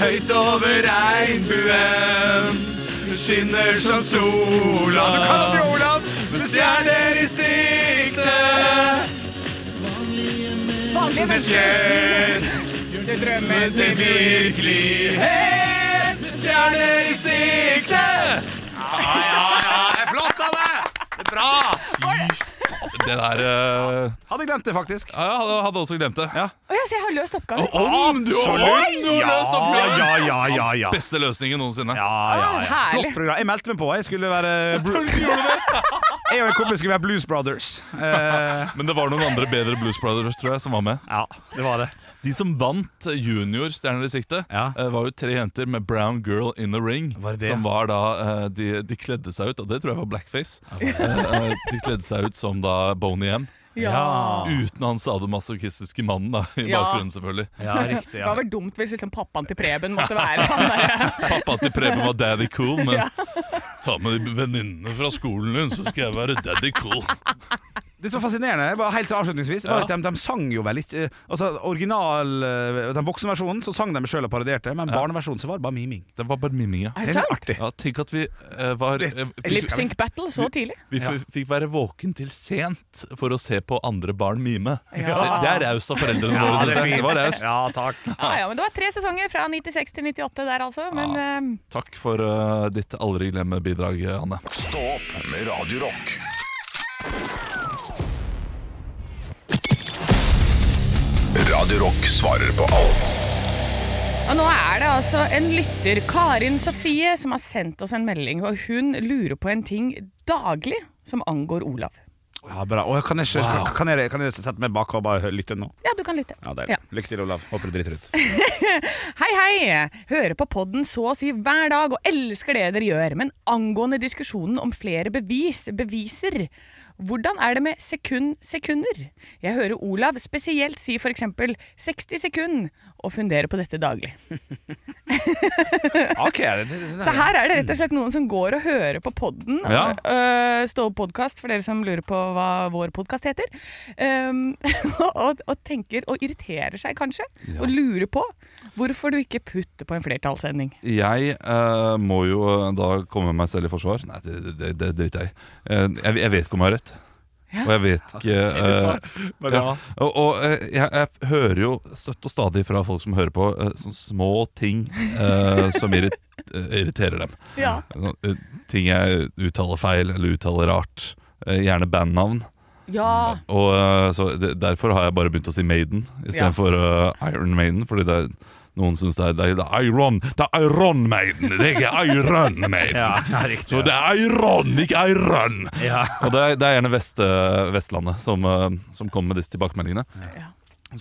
Speaker 2: Høyt over regnbuen Skinner som sola Du kan det, Olav Med stjerner i sikte
Speaker 3: Vanlige mennesker. Du drømmer til
Speaker 2: virkelighet Med stjerner i sikte Ja, ja, ja, det er flott av meg Det er bra
Speaker 4: Det der eh,
Speaker 2: Hadde glemt det faktisk
Speaker 4: Ja, jeg hadde- hadde også glemt det.
Speaker 3: Å ja, så jeg har løst oppgaven.
Speaker 4: Om du har
Speaker 2: Absolutt.
Speaker 4: du har løst oppgaven!
Speaker 2: Ja, ja, ja, ja, ja.
Speaker 4: Beste løsningen noensinne.
Speaker 2: Ja, ja,
Speaker 3: Å,
Speaker 2: ja.
Speaker 3: herlig.
Speaker 2: Flott program. Jeg meldte meg på. Jeg skulle være Jeg og en kompis skulle være Blues Brothers. Eh,
Speaker 4: Men det var noen andre bedre Blues Brothers tror jeg, som var med.
Speaker 2: ja, det var det.
Speaker 4: De som vant junior Stjerner i sikte,
Speaker 2: Ja.
Speaker 4: eh, var jo tre jenter med Brown Girl in the Ring.
Speaker 2: Var det det?
Speaker 4: Som var da eh, de, de kledde seg ut, og det tror jeg var blackface. Eh, eh, De kledde seg ut som da Boney M.
Speaker 3: Ja.
Speaker 4: Uten han sadomasochistiske mannen da i
Speaker 3: Ja.
Speaker 4: bakgrunnen, selvfølgelig.
Speaker 2: Ja, riktig.
Speaker 3: Det
Speaker 2: Ja.
Speaker 3: var vel dumt hvis liksom pappaen til Preben måtte være han der.
Speaker 4: Pappa til Preben var daddy cool, men ta med de venninnene fra skolen din, så skal jeg være daddy cool.
Speaker 2: Det som var fascinerende, bare helt til avslutningsvis, var at de, de sang jo veldig eh, Altså, original eh, Den voksenversjonen så sang de sjøl og parodierte, men barneversjonen så var det bare miming.
Speaker 4: Det var bare mimminga.
Speaker 2: Det
Speaker 3: Er
Speaker 2: er
Speaker 3: det
Speaker 2: litt
Speaker 3: sant?
Speaker 2: artig.
Speaker 4: Ja, tenk at vi eh, var eh, vi,
Speaker 3: Lip sync battle så tidlig.
Speaker 4: vi f- fikk være våken til sent for å se på andre barn mime. Det,
Speaker 3: Ja.
Speaker 4: det er raust av foreldrene våre, synes jeg. Det var raust.
Speaker 2: Ja, takk.
Speaker 3: Ja, ja, men det var tre sesonger fra 96 til 98 der altså, men eh,
Speaker 4: Takk for eh, ditt aldri glemme bidrag, Anne.
Speaker 1: Stå opp med Radio Rock. Radio Rock svarer på alt
Speaker 3: Og nå er det altså en lytter, Karin Sofie, som har sendt oss en melding. Og hun lurer på en ting daglig som angår Olav.
Speaker 2: Ja, bra. Og kan jeg, ikke, kan, jeg, kan jeg sette meg bak og bare hø- lytte nå?
Speaker 3: Ja, du kan lytte.
Speaker 2: Ja, deilig.
Speaker 3: Ja.
Speaker 2: Lykke til, Olav. Håper du driter ut.
Speaker 3: Hei, hei! Hører på podden så å si hver dag og elsker det dere gjør. Men angående diskusjonen om flere bevis, beviser hvordan er det med sekund, sekunder? Jeg hører Olav spesielt si f.eks. 60 sekund, og funderer på dette daglig.
Speaker 2: Ok, det, det, det,
Speaker 3: Så her er det rett og slett noen som går og hører på podden.
Speaker 4: Ja.
Speaker 3: øh, Stå opp podkast, for dere som lurer på hva vår podkast heter. Ehm, og, og tenker og irriterer seg kanskje, og lurer på hvorfor du ikke putter på en flertallssending.
Speaker 4: Jeg eh, må jo da komme meg selv i forsvar. Nei, det, det, det driter jeg i. Eh, jeg, jeg vet ikke om jeg har rett. Og jeg vet ikke eh,
Speaker 2: Men
Speaker 4: ja.
Speaker 2: ja.
Speaker 4: Og, og eh, jeg, jeg hører jo støtt og stadig fra folk som hører på, eh, sånne små ting eh, som irrit, eh, irriterer dem.
Speaker 3: Ja.
Speaker 4: Sånn, eh, ting jeg uttaler feil eller uttaler rart. Eh, gjerne bandnavn.
Speaker 3: Ja.
Speaker 4: Og eh, så de- Derfor har jeg bare begynt å si Maiden
Speaker 3: Ja.
Speaker 4: istedenfor ja. eh, Iron Maiden. Fordi det er, noen syns det, er- det er Iron Det er Iron Maiden, det er ikke Iron Maiden.
Speaker 2: Ja, ja, riktig.
Speaker 4: Så det er Iron, ikke Iron!
Speaker 2: ja.
Speaker 4: Og det er, det er gjerne Vest, Vestlandet som, eh, som kommer med disse tilbakemeldingene.
Speaker 3: Ja.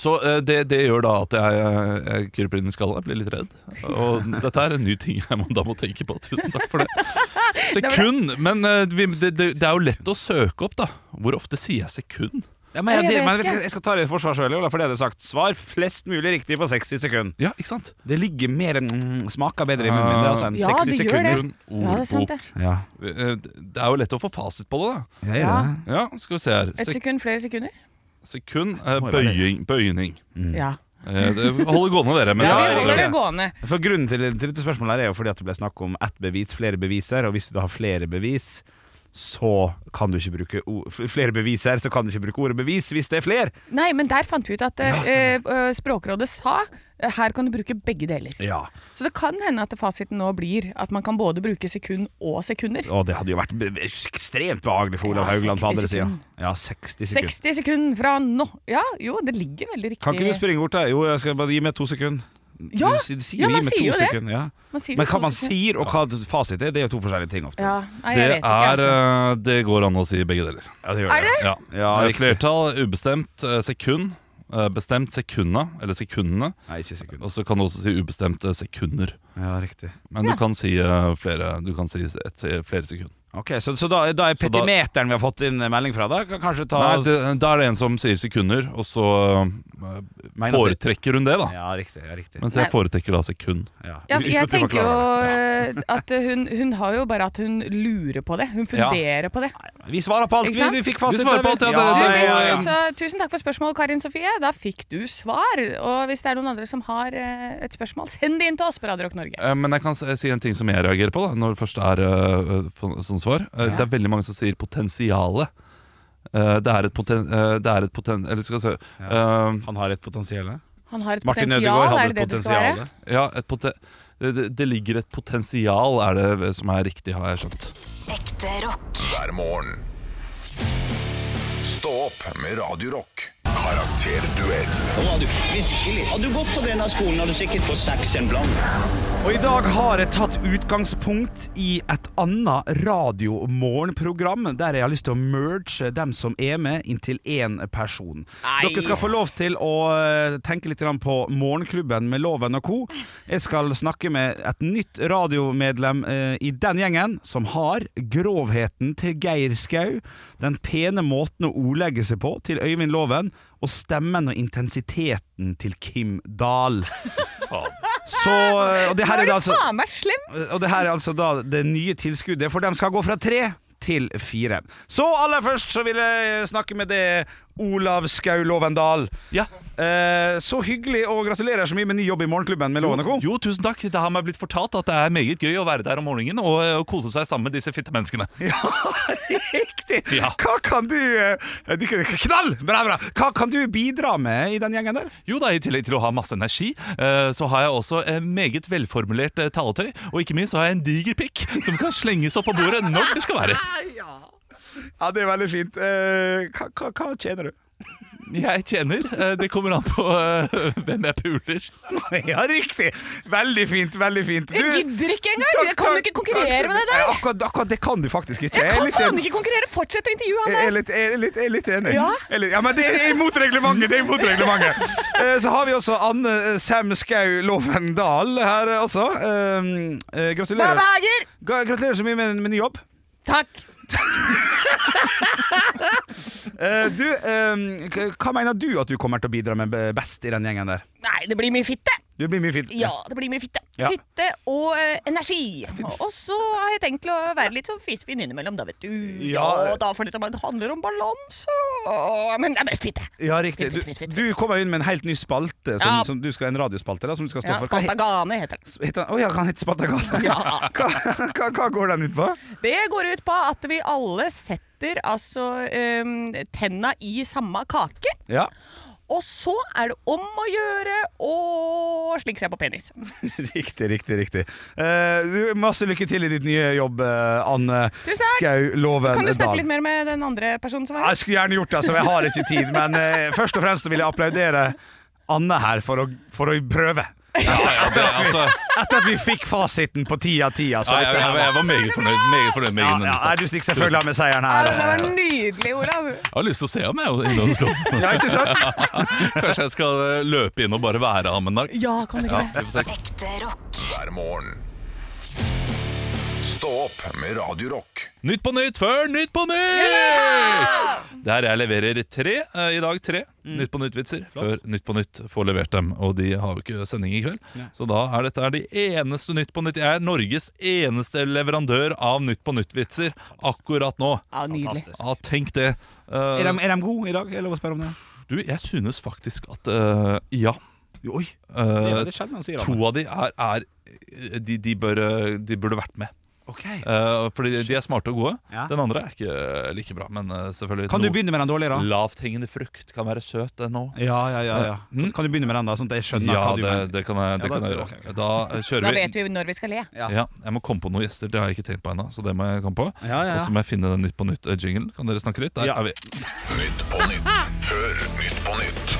Speaker 4: Så eh, det, det gjør da at jeg, eh, jeg kryper inn i skallet, jeg blir litt redd. Og dette er en ny ting jeg må, da må tenke på. Tusen takk for det. Sekund! Men eh, vi, det, det, det er jo lett å søke opp, da. Hvor ofte sier jeg sekund?
Speaker 2: Ja, men jeg,
Speaker 3: Jeg
Speaker 2: det,
Speaker 3: vet
Speaker 2: men vet
Speaker 3: ikke.
Speaker 2: du, jeg skal ta det i forsvar sjøl, for det hadde jeg sagt. Svar flest mulig riktig på 60 sekunder.
Speaker 4: Ja, ikke sant?
Speaker 2: Det ligger mer enn mm, smaker bedre i munnen min. Det er altså enn
Speaker 3: Ja,
Speaker 2: 60
Speaker 3: det gjør
Speaker 2: sekunder.
Speaker 4: Grunn,
Speaker 3: Ja, det er sant, det.
Speaker 2: Ja.
Speaker 4: ordbok. Eh, Det er jo lett å få fasit på det, da.
Speaker 2: Ja,
Speaker 3: Ja.
Speaker 4: Ja, skal vi se her.
Speaker 3: Et
Speaker 4: Sek
Speaker 3: sekund, flere sekunder?
Speaker 4: sekund, eh,
Speaker 2: Må jo være
Speaker 4: bøying, bøyning.
Speaker 3: Ja.
Speaker 4: Eh, det- Hold det gående, dere. mens
Speaker 2: Ja,
Speaker 4: jeg-
Speaker 3: Vi holder
Speaker 2: riktig.
Speaker 3: det gående.
Speaker 2: For Grunnen til, til dette spørsmålet her er jo fordi at det ble snakk om ett bevis, flere beviser. Og hvis du da har flere bevis, så kan du ikke bruke o- f- flere beviser, så kan du ikke bruke ordet bevis hvis det er flere.
Speaker 3: Nei, men der fant vi ut at eh, eh, Språkrådet sa eh, her kan du bruke begge deler.
Speaker 2: Ja.
Speaker 3: Så det kan hende at fasiten nå blir at man kan både bruke sekund og sekunder.
Speaker 2: Og det hadde jo vært be- be- ekstremt behagelig for Olav
Speaker 3: Ja,
Speaker 2: Haugland på
Speaker 3: 60
Speaker 2: andre sida.
Speaker 3: sekunder.
Speaker 2: Ja, 60 sekunder.
Speaker 3: 60 sekunder fra nå. Ja, jo, det ligger veldig riktig.
Speaker 2: Kan ikke du springe bort da? Jo, jeg skal bare gi meg to sekunder.
Speaker 3: Ja,
Speaker 2: du, sier- sier,
Speaker 3: ja,
Speaker 2: gi
Speaker 3: man
Speaker 2: meg
Speaker 3: sier
Speaker 2: to
Speaker 3: jo det.
Speaker 2: sekunder, Ja.
Speaker 3: Man sier
Speaker 2: Men
Speaker 3: det
Speaker 2: hva
Speaker 3: to
Speaker 2: man
Speaker 3: sekunder.
Speaker 2: sier og hva fasit er, det er jo to forskjellige ting ofte.
Speaker 3: Ja, nei, jeg
Speaker 4: Det
Speaker 3: vet ikke,
Speaker 4: er
Speaker 3: altså.
Speaker 4: eh, Det går an å si begge deler.
Speaker 2: Ja, det gjør
Speaker 3: Er det?
Speaker 4: Ja,
Speaker 2: Ja,
Speaker 4: Eh,
Speaker 2: riktig.
Speaker 4: Flertall, ubestemt, eh, sekund. eh, Bestemt sekunda, eller sekundene.
Speaker 2: Nei, ikke sekunder.
Speaker 4: Og så kan du også si ubestemte sekunder.
Speaker 2: Ja, riktig.
Speaker 4: Men
Speaker 3: Ja.
Speaker 4: du kan si eh, flere Du kan si et, se- flere sekunder.
Speaker 2: Ok, Så, så da, da er
Speaker 4: Så da-
Speaker 2: petimeteren vi har fått inn melding fra, da? Kan kanskje ta
Speaker 4: Nei,
Speaker 2: oss-
Speaker 4: det, Da er det en som sier sekunder, og så eh,
Speaker 2: Mener at det-
Speaker 4: foretrekker hun det, da.
Speaker 2: Ja, riktig. ja, riktig
Speaker 4: Mens
Speaker 3: Nei.
Speaker 4: jeg foretrekker da sekund.
Speaker 2: ja.
Speaker 3: Ja,
Speaker 2: Uten
Speaker 3: jeg
Speaker 2: at du
Speaker 3: tenker jo
Speaker 2: forklarer
Speaker 3: eh, at hun, hun har jo bare at hun lurer på det. Hun
Speaker 4: Ja.
Speaker 3: funderer på det.
Speaker 2: det. Vi svarer på alt!
Speaker 3: Ikke
Speaker 2: Vi,
Speaker 3: sant?
Speaker 2: vi fikk fasit.
Speaker 4: Vi svarer på alt, ja, det-
Speaker 3: Du,
Speaker 4: det-
Speaker 2: nei, ja, ja.
Speaker 3: Så tusen takk for spørsmålet, Karin Sofie. Da fikk du svar. Og hvis det er noen andre som har eh, et spørsmål, send det inn til oss på Radio Rock Norge.
Speaker 4: Eh, Men jeg kan s- si en ting som jeg reagerer på, da når det først er eh, for- sånn svar. Eh, Det er veldig mange som sier potensiale. Eh, Det er et poten... eh, Det er et poten... Eller skal vi se eh,
Speaker 2: Han har et potensial. eh?
Speaker 3: Han har et
Speaker 2: Martin
Speaker 3: potensial,
Speaker 2: Ødegaard
Speaker 3: er
Speaker 2: hadde
Speaker 3: det
Speaker 2: et
Speaker 3: det det skal
Speaker 2: potensial.
Speaker 3: være?
Speaker 4: Ja, et pote det, det- det ligger et potensial, er det som er riktig, har jeg skjønt.
Speaker 6: Ekte rock.
Speaker 1: hver morgen. Stå opp med Radio Rock. Karakterduell
Speaker 7: Nå har du virkelig. Hadde du gått på denne skolen, hadde du sikkert fått seks en blank.
Speaker 2: Og i dag har jeg tatt utgangspunkt i et annet radiomorgenprogram, der jeg har lyst til å merge dem som er med, inntil én person.
Speaker 3: Nei.
Speaker 2: Dere skal få lov til å eh, tenke litt grann på Morgenklubben med Loven og co. Jeg skal snakke med et nytt radiomedlem eh, i den gjengen, som har grovheten til Geir Skau, den pene måten å ordlegge seg på til Øyvind Loven, og stemmen og intensiteten til Kim Dahl. Så, eh, og det her er
Speaker 3: Nå er
Speaker 2: da
Speaker 3: du
Speaker 2: altså
Speaker 3: faen meg slem!
Speaker 2: Og det her er altså da det nye tilskuddet, for de skal gå fra tre til fire. Så aller først så vil jeg snakke med det Olav Skau Lovendal.
Speaker 4: Ja.
Speaker 2: Eh, så hyggelig, og gratulerer så mye med ny jobb i Morgenklubben med Loven og Co.
Speaker 4: Jo, tusen takk. Det har meg blitt fortalt at det er meget gøy å være der om morgenen og, eh, og kose seg sammen med disse fitte menneskene.
Speaker 2: Riktig!
Speaker 4: Ja.
Speaker 2: Hva kan du eh, du- Knall! Bra, bra! Hva kan du bidra med i den gjengen der?
Speaker 4: Jo da, I tillegg til å ha masse energi, eh, så har jeg også eh, meget velformulert eh, taletøy. Og ikke minst så har jeg en diger pikk som kan slenges opp på bordet når det skal være.
Speaker 2: Ja, det er veldig fint. Eh, hva, hva, hva tjener du?
Speaker 4: Jeg tjener. eh, Det kommer an på eh, hvem jeg puler.
Speaker 2: Ja, riktig! Veldig fint, veldig fint.
Speaker 3: Jeg gidder ikke engang! Jeg kan jo ikke konkurrere med det
Speaker 2: Nei,
Speaker 3: der!
Speaker 2: Akkurat, akkurat det kan du faktisk ikke.
Speaker 3: Jeg
Speaker 2: er
Speaker 3: kan
Speaker 2: litt
Speaker 3: faen
Speaker 2: enig.
Speaker 3: ikke konkurrere! Fortsett å intervjue han
Speaker 2: Jeg er
Speaker 3: der!
Speaker 2: litt, jeg er litt, jeg er litt enig.
Speaker 3: Ja?
Speaker 2: Jeg er litt- ja, men det er imot reglementet! Det er imot reglementet. Eh, Så har vi også Anne eh, Sam Skau Loven Dahl her, eh, altså. Eh, eh, Gratulerer.
Speaker 3: Beklager!
Speaker 2: Ga- Gratulerer så mye med, med ny jobb.
Speaker 3: Takk!
Speaker 2: Eh, Du, eh, k- hva mener du at du kommer til å bidra med be- best i den gjengen der?
Speaker 3: Nei, det blir mye fitte!
Speaker 2: Du blir mye fint.
Speaker 3: Ja, det blir mye fitte.
Speaker 2: Ja.
Speaker 3: Fitte og eh, energi. Og så har jeg tenkt til å være litt sånn fisefin innimellom, da, vet du. Ja,
Speaker 2: Ja.
Speaker 3: da, for dette handler om balanse. og- Men det er mest fitte.
Speaker 2: Ja, riktig.
Speaker 3: Fitt, fitt,
Speaker 2: Du,
Speaker 3: fitt, fitt.
Speaker 2: du kommer inn med en helt ny spalte, som,
Speaker 3: Ja.
Speaker 2: som du skal, en radiospalte da, som du skal stå
Speaker 3: Ja,
Speaker 2: for. Hva he-
Speaker 3: Spantagane heter det.
Speaker 2: heter den? Å ja, han heter Spatagata.
Speaker 3: Ja.
Speaker 2: Hva, hva, hva går den ut på?
Speaker 3: Det går ut på at vi alle setter altså um, tenna i samme kake.
Speaker 2: Ja,
Speaker 3: Og så er det om å gjøre å slikke seg på penis.
Speaker 2: Riktig, riktig, riktig. Eh, du, masse lykke til i ditt nye jobb, eh, Anne
Speaker 3: Tusen takk.
Speaker 2: Skau Loven
Speaker 3: Kan du snakke
Speaker 2: Dahl.
Speaker 3: litt mer med den andre personen som
Speaker 2: Ja,
Speaker 3: var her?
Speaker 2: Jeg skulle gjerne gjort det, altså, men jeg har ikke tid. Men eh, først og fremst vil jeg applaudere Anne her for å, for å prøve.
Speaker 4: Ja, ja, det, altså,
Speaker 2: Etter at vi fikk fasiten på ti av ti. Altså,
Speaker 4: ja, jeg,
Speaker 2: dette her
Speaker 4: jeg, jeg var meget fornøyd. Meget fornøyd med
Speaker 2: ja,
Speaker 4: egen
Speaker 2: ja,
Speaker 4: innsats.
Speaker 2: du stikker selvfølgelig av med seieren her. eh.
Speaker 3: det var nydelig, Olav.
Speaker 4: Jeg har lyst til å se ham, jeg. Inne hos Loven.
Speaker 2: Ja, ikke sant?
Speaker 4: Kanskje jeg skal eh, løpe inn og bare være ham en dag.
Speaker 3: Ja, kan du ikke det?
Speaker 4: Vi får se.
Speaker 6: Ekte rock.
Speaker 1: hver morgen. Stå opp med Radio Rock.
Speaker 4: Nytt på nytt før Nytt på nytt! Der jeg leverer tre eh, i dag. tre
Speaker 2: Mm.
Speaker 4: Nytt på nytt-vitser før Nytt på nytt får levert dem. Og de har jo ikke sending i kveld. Så da er dette er de eneste Nytt på nytt. Jeg er Norges eneste leverandør av Nytt på nytt-vitser akkurat nå.
Speaker 3: Ja, nydelig.
Speaker 4: Ja, tenk det. Eh,
Speaker 2: Er de, er de gode i dag? Er det lov å spørre om det?
Speaker 4: du, jeg synes faktisk at eh, ja.
Speaker 2: Oi, det
Speaker 4: Eh,
Speaker 2: var det Chad han sier.
Speaker 4: to
Speaker 2: Anne.
Speaker 4: av de er, er de, de, bør, eh, de burde vært med.
Speaker 2: Ok.
Speaker 4: Eh, fordi de er smarte og gode.
Speaker 2: Ja.
Speaker 4: Den andre er ikke eh, like bra, men eh, selvfølgelig
Speaker 2: Kan du
Speaker 4: noe
Speaker 2: begynne med den dårligere? da?
Speaker 4: Lavthengende frukt kan være søt, den òg.
Speaker 2: Ja, ja, ja, ja.
Speaker 4: Mm.
Speaker 2: Eh, Kan du begynne med den, da, sånn at jeg skjønner
Speaker 4: Ja,
Speaker 2: hva du
Speaker 4: det,
Speaker 2: mener?
Speaker 4: det kan jeg, det
Speaker 2: Ja,
Speaker 4: kan
Speaker 2: da-
Speaker 4: jeg gjøre.
Speaker 2: ok, ok.
Speaker 4: Da eh, kjører
Speaker 6: Da
Speaker 4: vi.
Speaker 6: vet vi når vi skal le.
Speaker 2: Ja.
Speaker 4: Ja, jeg må komme på noen gjester, det har jeg ikke tenkt på ennå. Så det må jeg komme på.
Speaker 2: Ja, ja, ja.
Speaker 4: Og så må jeg finne den Nytt på nytt-jinglen. Kan dere snakke litt? Der
Speaker 2: Ja.
Speaker 4: er vi.
Speaker 1: Nytt på nytt før Nytt på nytt.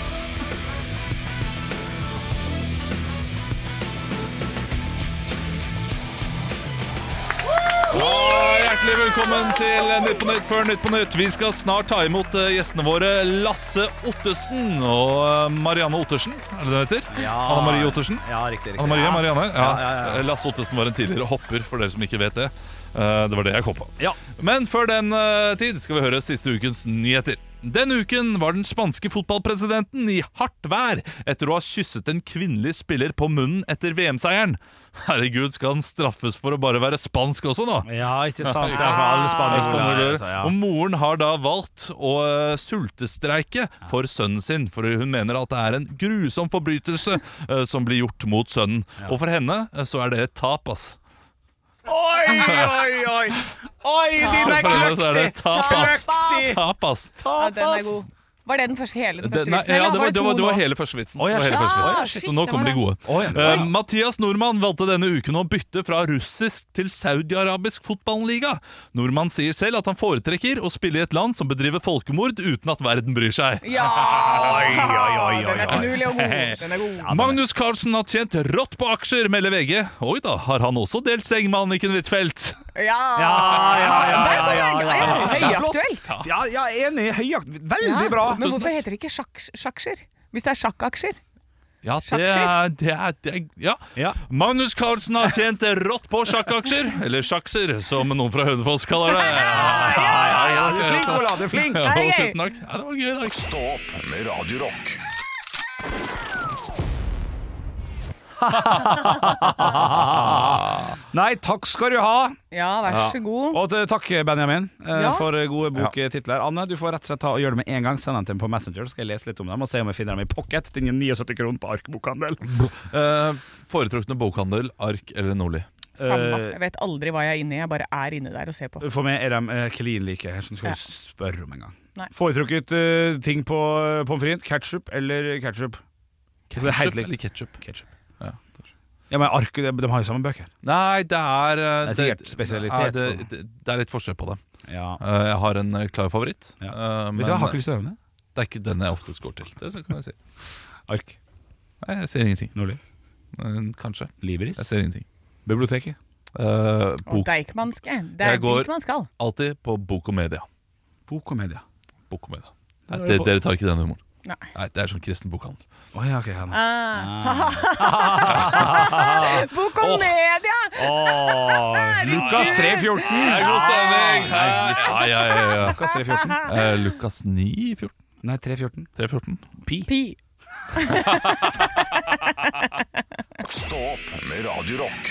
Speaker 4: Og hjertelig velkommen til eh, Nytt på nytt før Nytt på nytt. Vi skal snart ta imot eh, gjestene våre Lasse Ottesen og eh, Marianne Ottersen. Er det det det heter?
Speaker 2: Ja.
Speaker 4: Anne Marie Ottersen.
Speaker 2: Ja, riktig, riktig.
Speaker 4: Anne Marie, Marianne. Ja.
Speaker 2: Ja, ja, ja.
Speaker 4: Lasse Ottesen var en tidligere hopper, for dere som ikke vet det. Eh, Det var det jeg kom på.
Speaker 2: Ja.
Speaker 4: Men før den eh, tid skal vi høre siste ukens nyheter. Denne uken var den spanske fotballpresidenten i hardt vær etter å ha kysset en kvinnelig spiller på munnen etter VM-seieren. Herregud, skal han straffes for å bare være spansk også nå?
Speaker 2: Ja, ikke sant. Det er for alle spanjoler.
Speaker 4: Spanjoler.
Speaker 2: altså, ja.
Speaker 4: Og moren har da valgt å eh, sultestreike for sønnen sin, for hun mener at det er en grusom forbrytelse eh, som blir gjort mot sønnen. Og for henne eh, så er det et tap, ass.
Speaker 2: Oi, oi, oi! Oi, din er
Speaker 4: For henne så er det et tap, ass.
Speaker 2: Kløktig!
Speaker 4: Tap, ass.
Speaker 6: Ja, den er god. Var det den første, hele den første
Speaker 4: Det- nei,
Speaker 6: vitsen?
Speaker 4: ja,
Speaker 6: eller
Speaker 4: det, var, det, var,
Speaker 6: to
Speaker 4: det var
Speaker 6: nå?
Speaker 4: hele første vitsen.
Speaker 2: Oi,
Speaker 4: Det var hele
Speaker 2: shit.
Speaker 4: første vitsen.
Speaker 6: Ah, shit,
Speaker 4: så nå
Speaker 6: det
Speaker 4: kommer
Speaker 6: var
Speaker 4: de gode.
Speaker 2: Oi,
Speaker 4: Eh, Mathias Nordmann valgte denne uken å bytte fra russisk til saudi-arabisk fotballliga. Nordmann sier selv at han foretrekker å spille i et land som bedriver folkemord uten at verden bryr seg.
Speaker 6: Ja!
Speaker 2: oi, oi,
Speaker 6: Den er
Speaker 2: oi.
Speaker 6: finurlig og god. Den er god.
Speaker 4: Magnus Carlsen har tjent rått på aksjer, melder VG. Oi da, har han også delt seng med Anniken Huitfeldt?
Speaker 6: Ja!
Speaker 2: Ja, ja, ja,
Speaker 6: Der
Speaker 2: ja,
Speaker 6: kommer
Speaker 2: ja, ja,
Speaker 6: den.
Speaker 2: ja.
Speaker 6: ja, ja. Høyaktuelt.
Speaker 2: Ja, ja, enig. Høyjakt. Veldig
Speaker 6: Ja,
Speaker 2: bra.
Speaker 6: Men hvorfor heter det ikke sjakk- sjaksjer? Hvis det er sjakkaksjer?
Speaker 4: Ja, det er,
Speaker 6: Sjakksjer?
Speaker 4: det er, det er ja.
Speaker 2: Ja.
Speaker 4: Magnus Carlsen har tjent rått på sjakkaksjer. Eller sjakser, som noen fra Hønefoss kaller det.
Speaker 2: Ja, ja, du er flink, Ola. Du er flink.
Speaker 4: Ja,
Speaker 6: Hei, hei.
Speaker 4: tusen takk. Ja, det var gøy i dag.
Speaker 1: Stå opp med Radio Rock.
Speaker 2: Nei, takk skal du ha.
Speaker 6: Ja, vær så god.
Speaker 2: Og til- takk, Benjamin, eh,
Speaker 6: Ja.
Speaker 2: for gode boktitler. Anne, du får rett og slett ta og gjøre det med en gang. Send dem til meg på Messenger, så skal jeg lese litt om dem og se om jeg finner dem i pocket. til 79 kroner på arkbokhandel.
Speaker 4: Eh, foretrukne bokhandel, ark eller Nordli?
Speaker 3: Samme. Jeg vet aldri hva jeg er inne i. Jeg bare er inne der og ser på.
Speaker 2: For meg er de eh, klin like. Jeg skal
Speaker 3: Ja.
Speaker 2: ikke spørre om engang.
Speaker 3: Nei.
Speaker 2: Foretrukket eh, ting på eh, pommes frites? Ketchup eller ketchup? Det er helt
Speaker 4: Ketchup
Speaker 2: likt.
Speaker 4: eller ketchup?
Speaker 2: Ketchup.
Speaker 4: Ja.
Speaker 2: Ja, men ark, de, de har jo samme bøker.
Speaker 4: Nei, det er eh,
Speaker 2: Det er sikkert spesialitet
Speaker 4: ja,
Speaker 2: på
Speaker 4: det, det, det er litt forskjell på det.
Speaker 2: Ja.
Speaker 4: Eh, jeg har en eh, klar favoritt,
Speaker 2: Ja.
Speaker 4: eh, men
Speaker 2: Vet du, hva, jeg har ikke lyst til å høre om det.
Speaker 4: det er ikke den jeg oftest går til. Det kan jeg si.
Speaker 2: eh, Ark.
Speaker 4: Nei, jeg sier ingenting.
Speaker 2: Nordli.
Speaker 4: Eh, Kanskje.
Speaker 2: Libris.
Speaker 4: Jeg ser ingenting.
Speaker 2: Biblioteket.
Speaker 4: Eh,
Speaker 3: Og
Speaker 4: bok,
Speaker 3: Deichmanske. Det er
Speaker 4: Jeg går-
Speaker 3: dit man skal.
Speaker 4: alltid på Bok og Media.
Speaker 2: Bok og media.
Speaker 4: Bok og media. Nei, dere, dere tar ikke den humoren.
Speaker 3: Nei.
Speaker 4: Nei, Det er sånn kristen bokhandel.
Speaker 2: Å ja, ok. ja, nå.
Speaker 3: Eh,
Speaker 6: Bok om media!
Speaker 2: Lukas 314.
Speaker 4: Det er god stemning! Ja, ja, ja, ja.
Speaker 2: Lukas 314.
Speaker 4: Eh, Lukas 9, 14,
Speaker 2: Nei, 314.
Speaker 4: 314.
Speaker 3: Pi.
Speaker 1: Stå opp med Radio Rock.